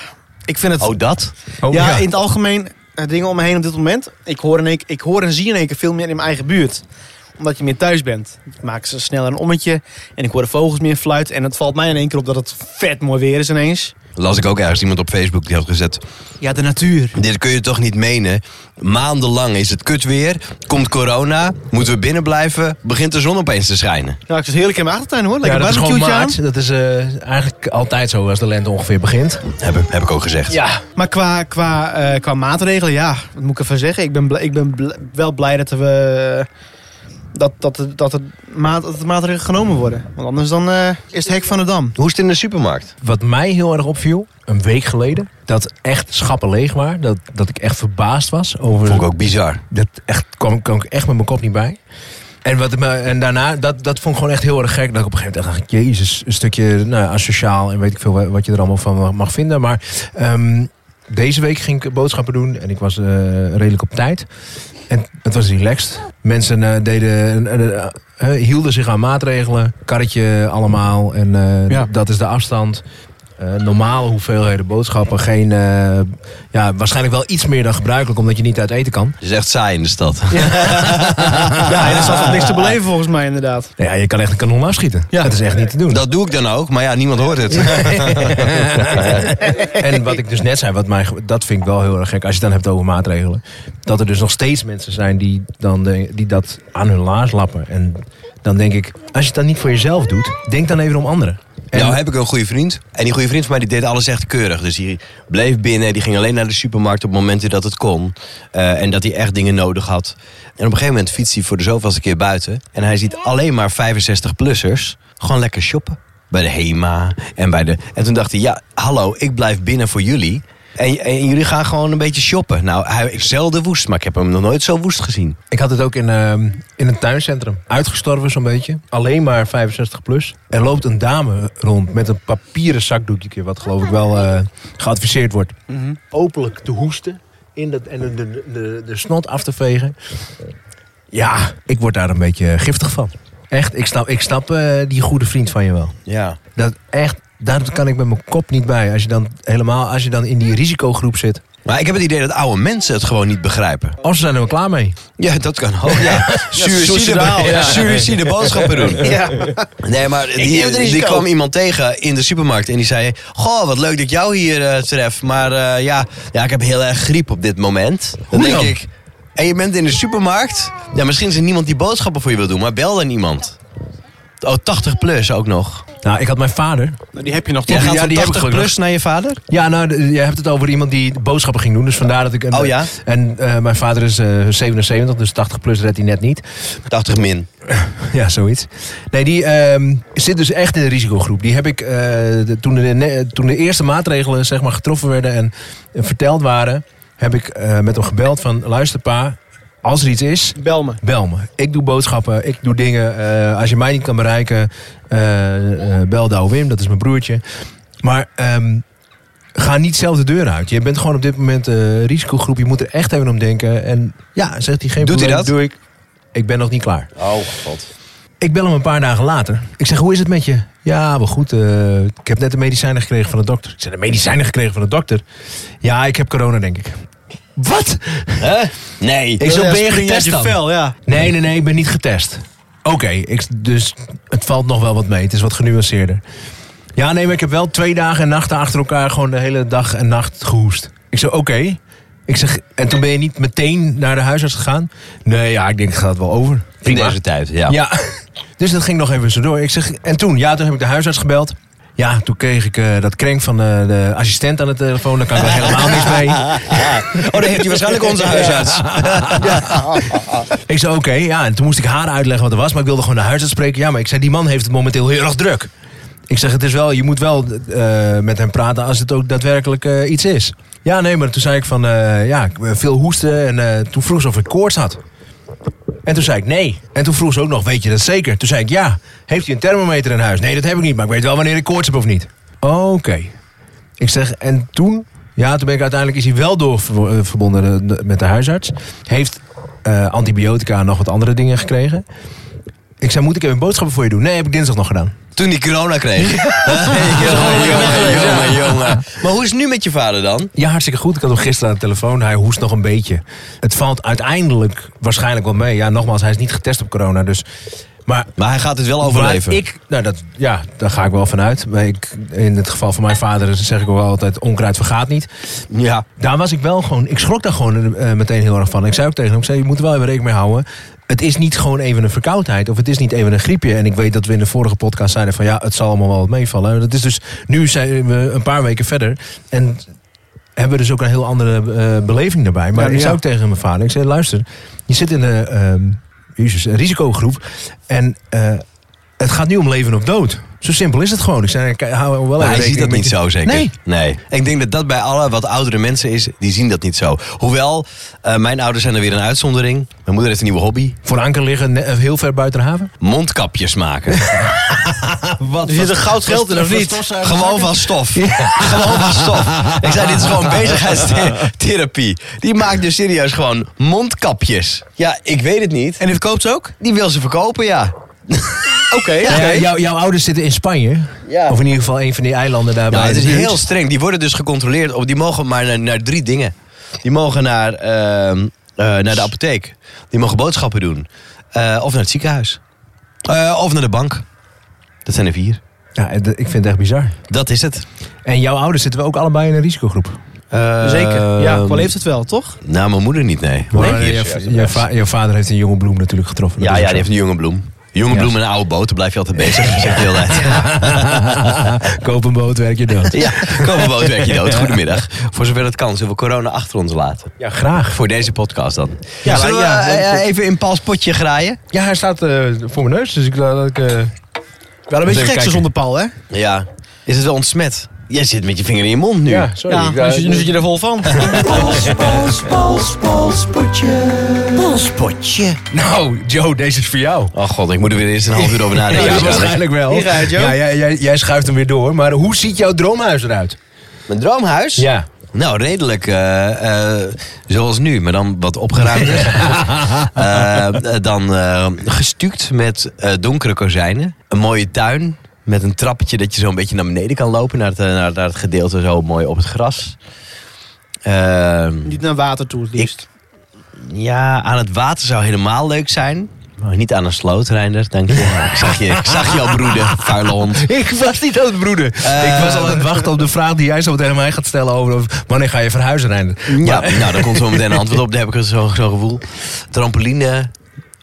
Speaker 4: ik vind het...
Speaker 2: Oh, dat?
Speaker 3: Oh,
Speaker 4: ja, in het algemeen eh, dingen om me heen op dit moment. Ik hoor, en ik, ik hoor en zie in één keer veel meer in mijn eigen buurt. Omdat je meer thuis bent. Ik maak ze sneller een ommetje. En ik hoor de vogels meer fluiten. En het valt mij in één keer op dat het vet mooi weer is ineens.
Speaker 2: Las ik ook ergens iemand op Facebook die had gezet.
Speaker 4: Ja, de natuur.
Speaker 2: Dit kun je toch niet menen? Maandenlang is het kut weer. Komt corona. Moeten we binnen blijven. Begint de zon opeens te schijnen.
Speaker 4: Nou, ik zit heerlijk in mijn achtertuin hoor.
Speaker 3: Ja,
Speaker 4: Lekker
Speaker 3: dat is gewoon
Speaker 4: barbecue'tje aan.
Speaker 3: maart. Dat is eh, eigenlijk altijd zo als de lente ongeveer begint.
Speaker 2: Heb, ik- heb ik ook gezegd.
Speaker 3: Ja.
Speaker 4: Maar qua, qua, eh, qua maatregelen, ja, wat moet ik ervan zeggen? Ik ben, bl- ik ben bl- wel blij dat we. Dat, dat, er- dat, er maat, dat er maatregelen genomen worden. Want anders dan eh, is het hek van de dam.
Speaker 2: Hoe is het in de supermarkt?
Speaker 3: Wat mij heel erg opviel, een week geleden, dat echt schappen leeg waren. Dat, dat ik echt verbaasd was over...
Speaker 2: Vond ik ook bizar.
Speaker 3: Dat echt, kwam, kwam ik echt met mijn kop niet bij. En, wat, me- en daarna, dat, dat vond ik gewoon echt heel erg gek. Dat ik op een gegeven moment dacht, jezus, een stukje nou, asociaal en weet ik veel wa- wat je er allemaal van mag- mag vinden. Maar ehm, deze week ging ik boodschappen doen en ik was eh, redelijk op tijd. En het was relaxed. Mensen eh, deden, eh, eh, eh, hielden zich aan maatregelen, karretje allemaal. En eh,
Speaker 4: Ja.
Speaker 3: dat is de afstand. Eh, normale hoeveelheden boodschappen. Geen, eh, ja, waarschijnlijk wel iets meer dan gebruikelijk, omdat je niet uit eten kan.
Speaker 2: Het is echt saai in de stad.
Speaker 4: Ja, en er zat ook niks te beleven volgens mij, inderdaad.
Speaker 3: Nou Ja, je kan echt een kanon afschieten.
Speaker 4: Ja.
Speaker 3: Dat is echt niet te doen.
Speaker 2: Dat doe ik dan ook, maar ja, niemand hoort het.
Speaker 3: en wat ik dus net zei, wat mij, ge- dat vind ik wel heel erg gek. Als je het dan hebt over maatregelen. Dat er dus nog steeds mensen zijn die, dan de- die dat aan hun laars lappen. En dan denk ik, als je het dan niet voor jezelf doet, denk dan even om anderen. En,
Speaker 2: Nou heb ik een goede vriend. En die goede vriend van mij die deed alles echt keurig. Dus die bleef binnen. Die ging alleen naar de supermarkt op momenten dat het kon. Eh, en dat hij echt dingen nodig had. En op een gegeven moment fietst hij voor de zoveelste keer buiten. En hij ziet alleen maar 65-plussers gewoon lekker shoppen. Bij de HEMA en bij de... En toen dacht hij, ja, hallo, ik blijf binnen voor jullie. En, en jullie gaan gewoon een beetje shoppen. Nou, hij, ik zelden woest, maar ik heb hem nog nooit zo woest gezien.
Speaker 3: Ik had het ook in, ehm, in een tuincentrum. Uitgestorven zo'n beetje. Alleen maar 65 plus. Er loopt een dame rond met een papieren zakdoekje. Wat geloof ik wel eh, geadviseerd wordt. Openlijk te hoesten. In dat, en de, de, de, de snot af te vegen. Ja, ik word daar een beetje giftig van. Echt, ik snap, ik snap eh, die goede vriend van je wel.
Speaker 2: Ja.
Speaker 3: Dat echt, daar kan ik met mijn kop niet bij. Als je dan helemaal als je dan in die risicogroep zit.
Speaker 2: Maar ik heb het idee dat oude mensen het gewoon niet begrijpen.
Speaker 3: Of ze zijn er wel klaar mee.
Speaker 2: Ja, dat kan ook. Ja. Suïcide
Speaker 3: sociaal, ja.
Speaker 2: suïcide boodschappen doen. Nee, maar
Speaker 7: neem
Speaker 2: die,
Speaker 7: het
Speaker 2: die
Speaker 7: risico.
Speaker 2: kwam iemand tegen in de supermarkt en die zei... Goh, wat leuk dat ik jou hier eh tref. Maar eh, ja, ja, ik heb heel erg griep op dit moment. Dan
Speaker 3: Hoe
Speaker 2: denk
Speaker 3: dan?
Speaker 2: ik... En je bent in de supermarkt. Ja, misschien is er niemand die boodschappen voor je wil doen. Maar bel dan iemand. Oh, 80 plus ook nog.
Speaker 3: Nou, ik had mijn vader.
Speaker 8: Nou, die heb je nog
Speaker 2: Jij
Speaker 8: toch?
Speaker 2: gaat
Speaker 3: ja,
Speaker 2: van
Speaker 3: die heb ik
Speaker 2: 80
Speaker 3: gelukkig.
Speaker 2: plus naar je vader?
Speaker 3: Ja, nou, d- jij hebt het over iemand die boodschappen ging doen. Dus vandaar dat ik... En,
Speaker 2: Oh ja?
Speaker 3: En eh, mijn vader is eh, 77, dus 80 plus redt hij net niet.
Speaker 2: 80 min.
Speaker 3: Ja, zoiets. Nee, die ehm, zit dus echt in de risicogroep. Die heb ik eh, de- toen, de, ne- toen de eerste maatregelen zeg maar, getroffen werden en, en verteld waren... heb ik eh, met hem gebeld van... luister pa, als er iets is,
Speaker 7: Bel me.
Speaker 3: bel me. Ik doe boodschappen, ik doe dingen. Eh, als je mij niet kan bereiken, eh, eh, bel Douwe Wim, dat is mijn broertje. Maar ehm, ga niet zelf de deur uit. Je bent gewoon op dit moment eh risicogroep. Je moet er echt even om denken. En ja, zegt hij geen
Speaker 2: Doet hij dat?
Speaker 3: probleem, doe ik. Ik ben nog niet klaar.
Speaker 2: Oh, god.
Speaker 3: Ik bel hem een paar dagen later. Ik zeg, hoe is het met je? Ja, wel goed. eh, ik heb net de medicijnen gekregen van de dokter. Ik zeg, de medicijnen gekregen van de dokter? Ja, ik heb corona, denk ik. Wat?
Speaker 2: Hè? Nee.
Speaker 3: Ik zo,
Speaker 7: Ja,
Speaker 3: ben je
Speaker 7: spring uit
Speaker 3: getest
Speaker 7: je
Speaker 3: dan?
Speaker 7: vel, ja.
Speaker 3: Nee, nee, nee, ik ben niet getest. Oké, ik- dus het valt nog wel wat mee. Het is wat genuanceerder. Ja, nee, maar ik heb wel twee dagen en nachten achter elkaar gewoon de hele dag en nacht gehoest. Ik zei, oké. Ik zeg, en toen ben je niet meteen naar de huisarts gegaan? Nee, ja, ik denk, het gaat wel over.
Speaker 2: In
Speaker 3: Prima.
Speaker 2: deze tijd, ja.
Speaker 3: Ja, dus dat ging nog even zo door. Ik zeg, en toen, ja, toen heb ik de huisarts gebeld. Ja, toen kreeg ik eh, dat krenk van eh, de assistent aan de telefoon. Daar kan ik er helemaal niks mee.
Speaker 2: Oh, dan heeft hij waarschijnlijk onze huisarts.
Speaker 3: Ik zei, oké, ja. En toen moest ik haar uitleggen wat er was. Maar ik wilde gewoon de huisarts spreken. Ja, maar ik zei, die man heeft het momenteel heel erg druk. Ik zeg, het is wel, je moet wel eh, met hem praten als het ook daadwerkelijk eh, iets is. Ja, nee, maar toen zei ik van, eh, ja, ik- veel hoesten. En eh, toen vroeg ze of ik koorts had. En toen zei ik nee. En toen vroeg ze ook nog, weet je dat zeker? Toen zei ik ja. Heeft hij een thermometer in huis? Nee, dat heb ik niet, maar ik weet wel wanneer ik koorts heb of niet. Oké. Ik zeg, en toen? Ja, toen ben ik uiteindelijk, is hij wel door eh, verbonden eh, met de huisarts. Heeft eh, antibiotica en nog wat andere dingen gekregen. Ik zei, moet ik even boodschappen voor je doen? Nee, heb ik dinsdag nog gedaan.
Speaker 2: Toen die corona kreeg. Hè? jongen, jongen, jongen, jongen. Maar hoe is het nu met je vader dan?
Speaker 3: Ja, hartstikke goed. Ik had hem gisteren aan de telefoon. Hij hoest nog een beetje. Het valt uiteindelijk waarschijnlijk wel mee. Ja, nogmaals, hij is niet getest op corona, dus... Maar
Speaker 2: Maar hij gaat het wel overleven.
Speaker 3: Maar ik, nou dat, ja, daar ga ik wel vanuit. Maar ik, in het geval van mijn vader zeg ik ook wel altijd: onkruid vergaat niet.
Speaker 2: ja.
Speaker 3: Daar was ik wel gewoon, ik schrok daar gewoon eh, meteen heel erg van. Ik zei ook tegen hem: ik zei, je moet er wel even rekening mee houden. Het is niet gewoon even een verkoudheid of het is niet even een griepje. En ik weet dat we in de vorige podcast zeiden: van ja, het zal allemaal wel wat meevallen. Dat is dus, nu zijn we een paar weken verder. En hebben we dus ook een heel andere eh, beleving daarbij. Maar
Speaker 4: Ja,
Speaker 3: ik
Speaker 4: ja.
Speaker 3: zei ook tegen mijn vader, ik zei, luister, je zit in de ehm, jezus, een risicogroep en eh, het gaat nu om leven of dood. Zo simpel is het gewoon. Ik zei, ik hou wel even
Speaker 2: Maar hij ziet dat
Speaker 3: rekening
Speaker 2: niet
Speaker 3: met
Speaker 2: zo
Speaker 3: die-
Speaker 2: zeker.
Speaker 3: Nee.
Speaker 2: nee. Ik denk dat dat bij alle wat oudere mensen is, die zien dat niet zo. Hoewel, eh, mijn ouders zijn er weer een uitzondering. Mijn moeder heeft een nieuwe hobby.
Speaker 3: Voor anker liggen, ne- heel ver buiten de haven.
Speaker 2: Mondkapjes maken. wat,
Speaker 7: Er zit een goud geld in, of niet?
Speaker 2: Gewoon van stof. Gewoon van stof. Ik zei, dit is gewoon bezigheidstherapie. Die maakt dus serieus gewoon mondkapjes. Ja, ik weet het niet.
Speaker 7: En die verkoopt ze ook?
Speaker 2: Die wil ze verkopen, ja.
Speaker 7: Oké.
Speaker 3: Nou Ja, jouw- jouw ouders zitten in Spanje.
Speaker 2: Ja.
Speaker 3: Of in ieder geval een van die eilanden daarbij.
Speaker 2: Nou, het is heel streng. Die worden dus gecontroleerd. Op, die mogen maar naar, naar drie dingen. Die mogen naar, ehm, eh, naar de apotheek. Die mogen boodschappen doen. Eh, of naar het ziekenhuis. Eh, of naar de bank. Dat zijn er vier.
Speaker 3: Ja, het- ik vind het echt bizar.
Speaker 2: Dat is het.
Speaker 3: En jouw ouders zitten we ook allebei in een risicogroep.
Speaker 2: Eh,
Speaker 7: Zeker. Ja, qua heeft het wel, toch?
Speaker 2: Nou, mijn moeder niet, nee.
Speaker 3: Maar
Speaker 2: Nee?
Speaker 3: jouw- jouw va- jouw vader heeft een jonge bloem natuurlijk getroffen. Dat
Speaker 2: Ja,
Speaker 3: is
Speaker 2: ja,
Speaker 3: ook
Speaker 2: die heeft
Speaker 3: zo.
Speaker 2: een jonge bloem. Jonge bloem en een oude boot, daar blijf je altijd bezig. Zegt de hele tijd.
Speaker 3: Koop een boot, werk je dood.
Speaker 2: Ja, kom op boot, werk je dood. Goedemiddag. Voor zover het kan, zullen we corona achter ons laten.
Speaker 3: Ja, graag.
Speaker 2: Voor deze podcast dan.
Speaker 7: Ja,
Speaker 2: Zullen we
Speaker 7: maar- ja,
Speaker 2: eh,
Speaker 7: want-
Speaker 2: eh, even in Paul's potje graaien?
Speaker 3: Ja, hij staat eh, voor mijn neus, dus ik laat ik... eh,
Speaker 7: Wel een beetje
Speaker 3: Even
Speaker 7: gek zo
Speaker 3: kijken.
Speaker 7: zonder Paul, hè?
Speaker 2: Ja. Is het wel ontsmet? Jij zit met je vinger in je mond nu.
Speaker 3: Ja, sorry.
Speaker 7: Ja,
Speaker 3: Ik, eh,
Speaker 7: nu, zit- nu zit je er vol van.
Speaker 2: Polspotje.
Speaker 3: Nou, Joe, deze is voor jou.
Speaker 2: Oh god, ik moet er weer eerst een half uur over nadenken.
Speaker 3: Ja, waarschijnlijk wel.
Speaker 7: Hier gaat, Joe.
Speaker 3: Ja, jij, jij, jij schuift hem weer door. Maar hoe ziet jouw droomhuis eruit?
Speaker 2: Mijn droomhuis?
Speaker 3: Ja.
Speaker 2: Nou, redelijk eh, eh, zoals nu, maar dan wat opgeruimder. Eh, eh, dan eh, gestuukt met eh, donkere kozijnen. Een mooie tuin met een trappetje dat je zo'n beetje naar beneden kan lopen. Naar het, eh, naar, naar het gedeelte zo mooi op het gras. Ehm,
Speaker 7: Niet naar water toe het liefst.
Speaker 2: ja, aan het water zou helemaal leuk zijn. Maar niet aan een sloot, Reinders, denk je. ik, zag je ik zag je al broeden, vuile hond.
Speaker 3: Ik was niet aan het broeden.
Speaker 2: Eh,
Speaker 3: ik was al aan het wachten op de vraag die jij zo meteen aan mij gaat stellen over of- wanneer ga je verhuizen. Reinder?
Speaker 2: Ja, nou, daar komt zo meteen een antwoord op. Daar heb ik zo'n zo gevoel. Trampoline,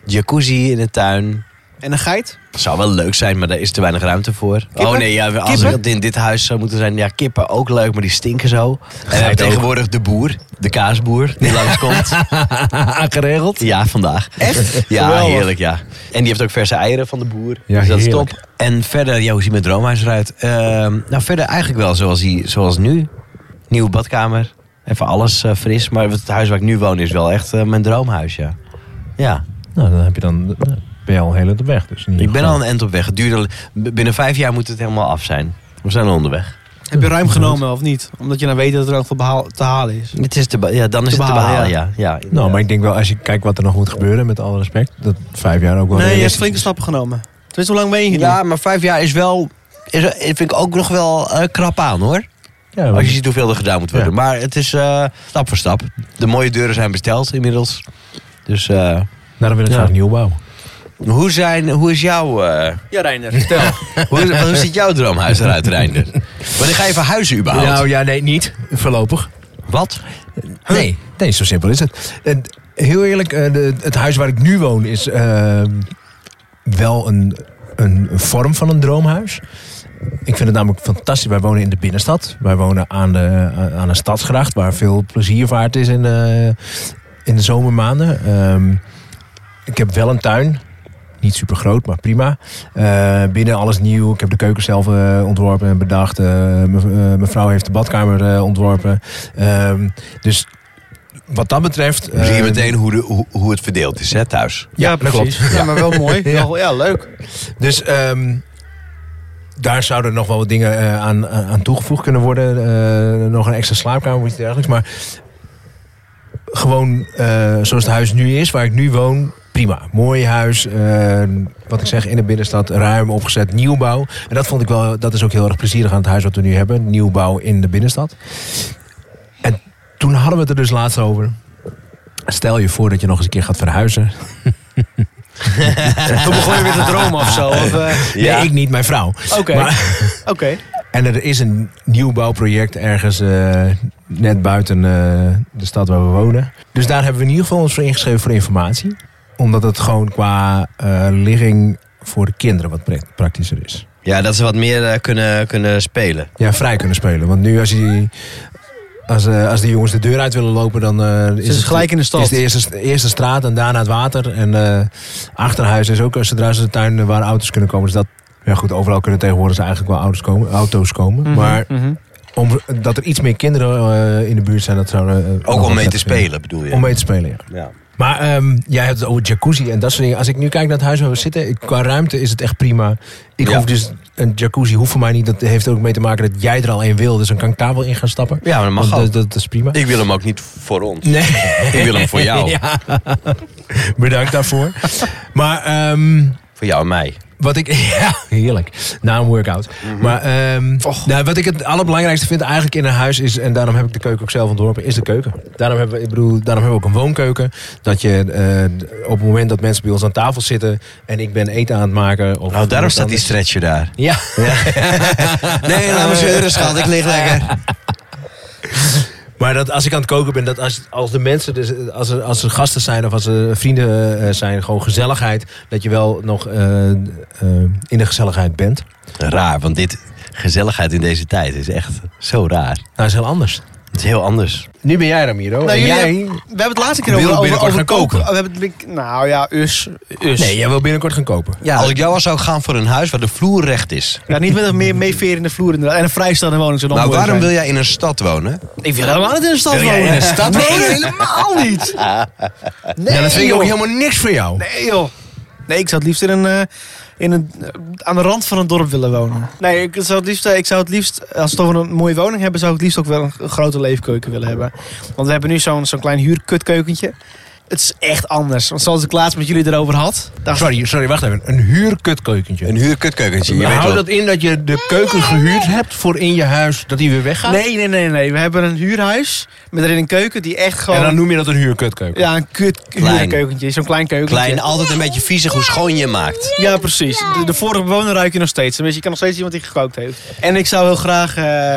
Speaker 2: jacuzzi in de tuin.
Speaker 7: En een geit?
Speaker 2: Zou wel leuk zijn, maar daar is te weinig ruimte voor. Oh nee, ja, als
Speaker 7: Kippen?
Speaker 2: het in dit huis zou moeten zijn. Ja, kippen ook leuk, maar die stinken zo. En we hebben
Speaker 3: ook.
Speaker 2: tegenwoordig de boer, de kaasboer, die langskomt.
Speaker 3: Ah, Aangeregeld.
Speaker 2: Ja, vandaag. Echt? Ja,
Speaker 7: Geweldig.
Speaker 2: heerlijk, ja. En die heeft ook verse eieren van de boer.
Speaker 3: Ja,
Speaker 2: dus dat is
Speaker 3: heerlijk.
Speaker 2: top. En verder, ja, hoe ziet mijn droomhuis eruit? Ehm, nou, verder eigenlijk wel zoals, hij, zoals nu. Nieuwe badkamer. Even alles eh, fris. Maar het huis waar ik nu woon is wel echt eh, mijn droomhuis, ja. Ja,
Speaker 3: Nou, dan heb je dan, nou, ben je al heel eind op weg. Dus in ieder
Speaker 2: ik ben
Speaker 3: geval.
Speaker 2: al een eind op weg. Het duurt al- b- binnen vijf jaar moet het helemaal af zijn. We zijn al onderweg.
Speaker 7: Heb je ruim genomen of niet? Omdat je dan weet dat er ook veel behaal, te halen is.
Speaker 2: Het is te be- ja, dan is
Speaker 7: Te
Speaker 2: het te
Speaker 7: behalen,
Speaker 2: behalen, ja. ja.
Speaker 3: Nou, maar ik denk wel, als je kijkt wat er nog moet gebeuren, met alle respect, dat vijf jaar
Speaker 7: Nee,
Speaker 3: ook wel
Speaker 7: je hebt
Speaker 3: realistisch
Speaker 7: flinke stappen genomen. Tenminste, hoe lang ben je hier
Speaker 2: ja, maar vijf jaar is wel... Is, vind ik ook nog wel eh, krap aan, hoor.
Speaker 3: is. Ja,
Speaker 2: Als je
Speaker 3: want-
Speaker 2: ziet hoeveel er gedaan moet worden.
Speaker 3: Ja.
Speaker 2: Maar het is eh, stap voor stap. De mooie deuren zijn besteld inmiddels. Dus eh,
Speaker 3: Daarom wil ik
Speaker 2: Ja.
Speaker 3: graag nieuw bouwen.
Speaker 2: hoe, zijn, hoe is jouw... eh,
Speaker 7: Ja, Reiner, vertel.
Speaker 2: hoe, is- hoe ziet jouw droomhuis eruit, Reinder? Wanneer ga je verhuizen überhaupt?
Speaker 3: Nou ja, nee, niet. Voorlopig.
Speaker 2: Wat?
Speaker 3: Nee, nee, zo simpel is het. En heel eerlijk, eh, de- het huis waar ik nu woon is eh, wel een, een, een vorm van een droomhuis. Ik vind het namelijk fantastisch. Wij wonen in de binnenstad. Wij wonen aan de, eh, aan een stadsgracht waar veel pleziervaart is in de, in de zomermaanden. Ehm, ik heb wel een tuin. Niet super groot, maar prima. Eh, binnen alles nieuw. Ik heb de keuken zelf eh, ontworpen en bedacht. Eh, mev- eh, mijn vrouw heeft de badkamer eh, ontworpen. Ehm, dus wat dat betreft.
Speaker 2: Dan zie je
Speaker 3: eh,
Speaker 2: meteen hoe, de, hoe, hoe het verdeeld is hè, thuis.
Speaker 3: Ja, dat klopt.
Speaker 7: precies. Ja, maar wel mooi.
Speaker 3: Ja.
Speaker 7: Wel- ja leuk.
Speaker 3: Dus ehm, daar zouden nog wel wat dingen eh, aan, aan aan toegevoegd kunnen worden. Eh, nog een extra slaapkamer of iets dergelijks. Maar gewoon eh, zoals het huis nu is, waar ik nu woon, prima. Mooi huis, eh, wat ik zeg, in de binnenstad, ruim opgezet, nieuwbouw. En dat vond ik wel, dat is ook heel erg plezierig aan het huis wat we nu hebben. Nieuwbouw in de binnenstad. En toen hadden we het er dus laatst over. Stel je voor dat je nog eens een keer gaat verhuizen.
Speaker 7: Toen begon je weer te dromen of zo. Of, eh,
Speaker 2: Ja.
Speaker 3: Nee, ik niet, mijn vrouw.
Speaker 7: Oké.
Speaker 3: Maar-
Speaker 7: Oké.
Speaker 3: En er is een nieuwbouwproject ergens eh, net buiten eh, de stad waar we wonen. Dus daar hebben we in ieder geval ons voor ingeschreven voor informatie. Omdat het gewoon qua eh, ligging voor de kinderen wat pre- praktischer is.
Speaker 2: Ja, dat ze wat meer eh, kunnen, kunnen spelen.
Speaker 3: Ja, vrij kunnen spelen. Want nu als die, als, eh, als die jongens de deur uit willen lopen, dan eh, is
Speaker 7: Ze is gelijk in de stad.
Speaker 3: is de eerste, eerste straat en daarna het water. En eh, achterhuis is ook eh, zodra ze de tuin eh, waar auto's kunnen komen. Dus dat, ja goed, overal kunnen tegenwoordig eigenlijk wel auto's komen. Auto's komen. Maar
Speaker 7: Mhm.
Speaker 3: Om, dat er iets meer kinderen eh, in de buurt zijn, dat zou... eh, nog
Speaker 2: Ook
Speaker 3: wel
Speaker 2: om mee
Speaker 3: vet
Speaker 2: te
Speaker 3: zijn.
Speaker 2: spelen, bedoel je?
Speaker 3: Om mee te spelen, ja.
Speaker 2: ja.
Speaker 3: Maar ehm, jij hebt het over jacuzzi en dat soort dingen. Als ik nu kijk naar het huis waar we zitten, ik- qua ruimte is het echt prima. Ik
Speaker 2: Ja.
Speaker 3: hoef dus... Een jacuzzi hoeft voor mij niet. Dat heeft ook mee te maken dat jij er al een wil. Dus dan kan ik daar wel in gaan stappen.
Speaker 2: ja, maar dat
Speaker 3: Want
Speaker 2: mag ook.
Speaker 3: dat, dat, dat is prima.
Speaker 2: Ik wil hem ook niet voor ons.
Speaker 3: Nee.
Speaker 2: Ik wil hem voor jou.
Speaker 3: Ja. Bedankt daarvoor. maar ehm,
Speaker 2: Voor jou en mij. Nou,
Speaker 3: wat ik. Ja, heerlijk. Na een workout.
Speaker 2: Mhm.
Speaker 3: Maar ehm, nou, wat ik het allerbelangrijkste vind eigenlijk in een huis is. En daarom heb ik de keuken ook zelf ontworpen. Is de keuken. Daarom hebben we, ik bedoel, daarom hebben we ook een woonkeuken. Dat je eh, op het moment dat mensen bij ons aan tafel zitten. en ik ben eten aan het maken. Of
Speaker 2: Nou, daarom staat
Speaker 3: iemand
Speaker 2: die
Speaker 3: anders-
Speaker 2: stretcher daar.
Speaker 3: Ja.
Speaker 2: Nee, laat me zeuren, schat. Ik lig lekker.
Speaker 3: Maar dat als ik aan het koken ben, dat als, als de mensen, dus eh, als er, als er gasten zijn of als er vrienden eh, zijn, gewoon gezelligheid, dat je wel nog eh, eh, in de gezelligheid bent. Nou,
Speaker 2: Raar, want dit gezelligheid in deze tijd is echt zo raar.
Speaker 3: Nou, is heel anders.
Speaker 2: Het is heel anders.
Speaker 3: Nu ben jij Ramiro.
Speaker 9: Nou,
Speaker 3: en
Speaker 9: jullie
Speaker 3: jij...
Speaker 9: hebben- we hebben het laatste keer
Speaker 3: wil
Speaker 9: over, over,
Speaker 3: binnenkort
Speaker 9: over
Speaker 3: gaan
Speaker 9: kopen.
Speaker 3: kopen.
Speaker 9: We hebben het, nou ja, us. us.
Speaker 3: Nee, jij wil binnenkort gaan kopen.
Speaker 9: ja,
Speaker 2: Als ik jou was, zou ik gaan voor een huis waar de vloer recht is.
Speaker 4: Ja, niet met een meer meeveer in de vloer inderdaad. En een vrijstaande woning zou dan
Speaker 2: Maar
Speaker 4: mooi
Speaker 2: Nou, waarom
Speaker 4: zijn.
Speaker 2: wil jij in een stad wonen?
Speaker 4: Ik wil helemaal niet in de stad
Speaker 2: Wil jij
Speaker 4: wonen.
Speaker 2: in een stad
Speaker 4: Nee, helemaal niet. Nee,
Speaker 3: ja, dat vind ik ook
Speaker 4: joh.
Speaker 3: helemaal niks voor jou.
Speaker 4: Nee, joh. Nee, ik zou het liefst in een, eh, in een, eh, aan de rand van een dorp willen wonen. Nee, ik zou, het liefst, eh, ik zou het liefst, als we toch een mooie woning hebben, zou ik het liefst ook wel een, een grote leefkeuken willen hebben. Want we hebben nu zo'n zo'n klein huurkutkeukentje. Het is echt anders. Want zoals ik laatst met jullie erover had, dacht
Speaker 3: Sorry, sorry, wacht even. Een huurkutkeukentje.
Speaker 2: Een huurkutkeukentje. Je weet
Speaker 3: Houdt
Speaker 2: wel.
Speaker 3: dat in dat je de keuken gehuurd hebt voor in je huis, dat die weer weggaat?
Speaker 4: Nee, nee, nee, nee. We hebben een huurhuis met erin een keuken die echt gewoon...
Speaker 3: En dan noem je dat een huurkutkeuken.
Speaker 4: Ja, een kut huurkeukentje. Zo'n klein keukentje.
Speaker 2: Klein, altijd een beetje viezig hoe schoon je maakt.
Speaker 4: Ja, precies. De, de vorige bewoner ruik je nog steeds. Dus je kan nog steeds iemand die gekookt heeft. En ik zou heel graag... eh,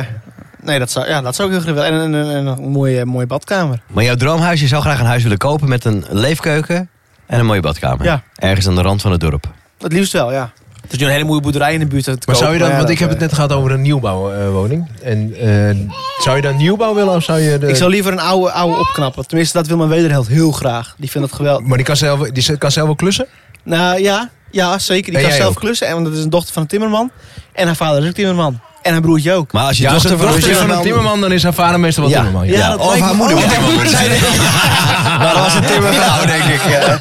Speaker 4: nee, dat zou, ja, dat zou ik heel graag willen. En, een- een- een mooie, mooie badkamer.
Speaker 2: Maar jouw droomhuis, je zou graag een huis willen kopen met een leefkeuken en een mooie badkamer.
Speaker 4: Ja.
Speaker 2: Ergens aan de rand van het dorp.
Speaker 4: Het liefst wel, ja. Het is nu een hele mooie boerderij in de buurt.
Speaker 3: Maar zou je dan, want ik heb het
Speaker 4: eh,
Speaker 3: net gehad over een nieuwbouwwoning. en eh, zou je dan nieuwbouw willen of zou je... De,
Speaker 4: Ik zou liever een oude, oude opknappen. Tenminste, dat wil mijn wederheld heel graag. Die vindt dat geweldig.
Speaker 3: maar die kan zelf, die kan zelf wel klussen?
Speaker 4: Nou ja, ja zeker. Die
Speaker 3: En
Speaker 4: kan
Speaker 3: jij
Speaker 4: zelf
Speaker 3: ook?
Speaker 4: klussen. En, want dat is een dochter van een timmerman. En haar vader is ook timmerman. En haar broertje ook.
Speaker 2: Maar als je dochter
Speaker 3: als het
Speaker 2: van
Speaker 3: is van een timmerman, dan is haar vader meestal wel
Speaker 2: Ja.
Speaker 3: timmerman.
Speaker 4: nou- Ja, dat
Speaker 2: of
Speaker 4: lijkt
Speaker 2: haar
Speaker 4: me
Speaker 2: moeder
Speaker 4: ook.
Speaker 2: moet timmerman zijn. Maar dat was een timmervrouw, denk ik. Ja.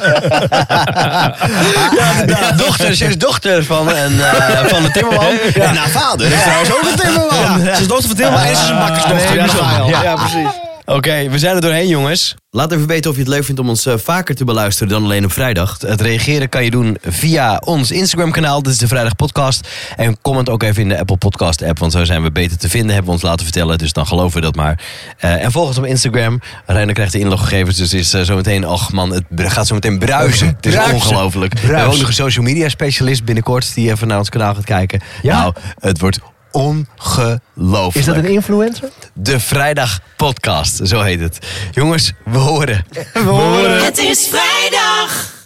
Speaker 2: Ja, dochter, ze is dochter van een, eh, van een timmerman. En haar vader is trouwens ook een timmerman.
Speaker 4: Ja, ze is dochter van timmerman en ze is dus een bakkersdochter.
Speaker 2: nee,
Speaker 4: Ja, dat
Speaker 2: dat
Speaker 4: ga je al.
Speaker 2: ja.
Speaker 4: ja, precies.
Speaker 2: Oké, we zijn er doorheen, jongens. Laat even weten of je het leuk vindt om ons eh, vaker te beluisteren dan alleen op vrijdag. Het reageren kan je doen via ons Instagram-kanaal. Dit is de Vrijdag Podcast. En comment ook even in de Apple Podcast-app, want zo zijn we beter te vinden. Hebben we ons laten vertellen, dus dan geloven we dat maar. Eh, en volg ons op Instagram. Reiner krijgt de inloggegevens, dus is eh, zometeen... Och man, het br- gaat zometeen bruisen. Het is
Speaker 3: Bruisen.
Speaker 2: ongelooflijk. We hebben ook nog een social media-specialist binnenkort... die even naar ons kanaal gaat kijken.
Speaker 3: Ja?
Speaker 2: Nou, het wordt ongelooflijk.
Speaker 3: Is dat een influencer?
Speaker 2: De Vrijdag Podcast, zo heet het. Jongens, we horen.
Speaker 1: Het is vrijdag.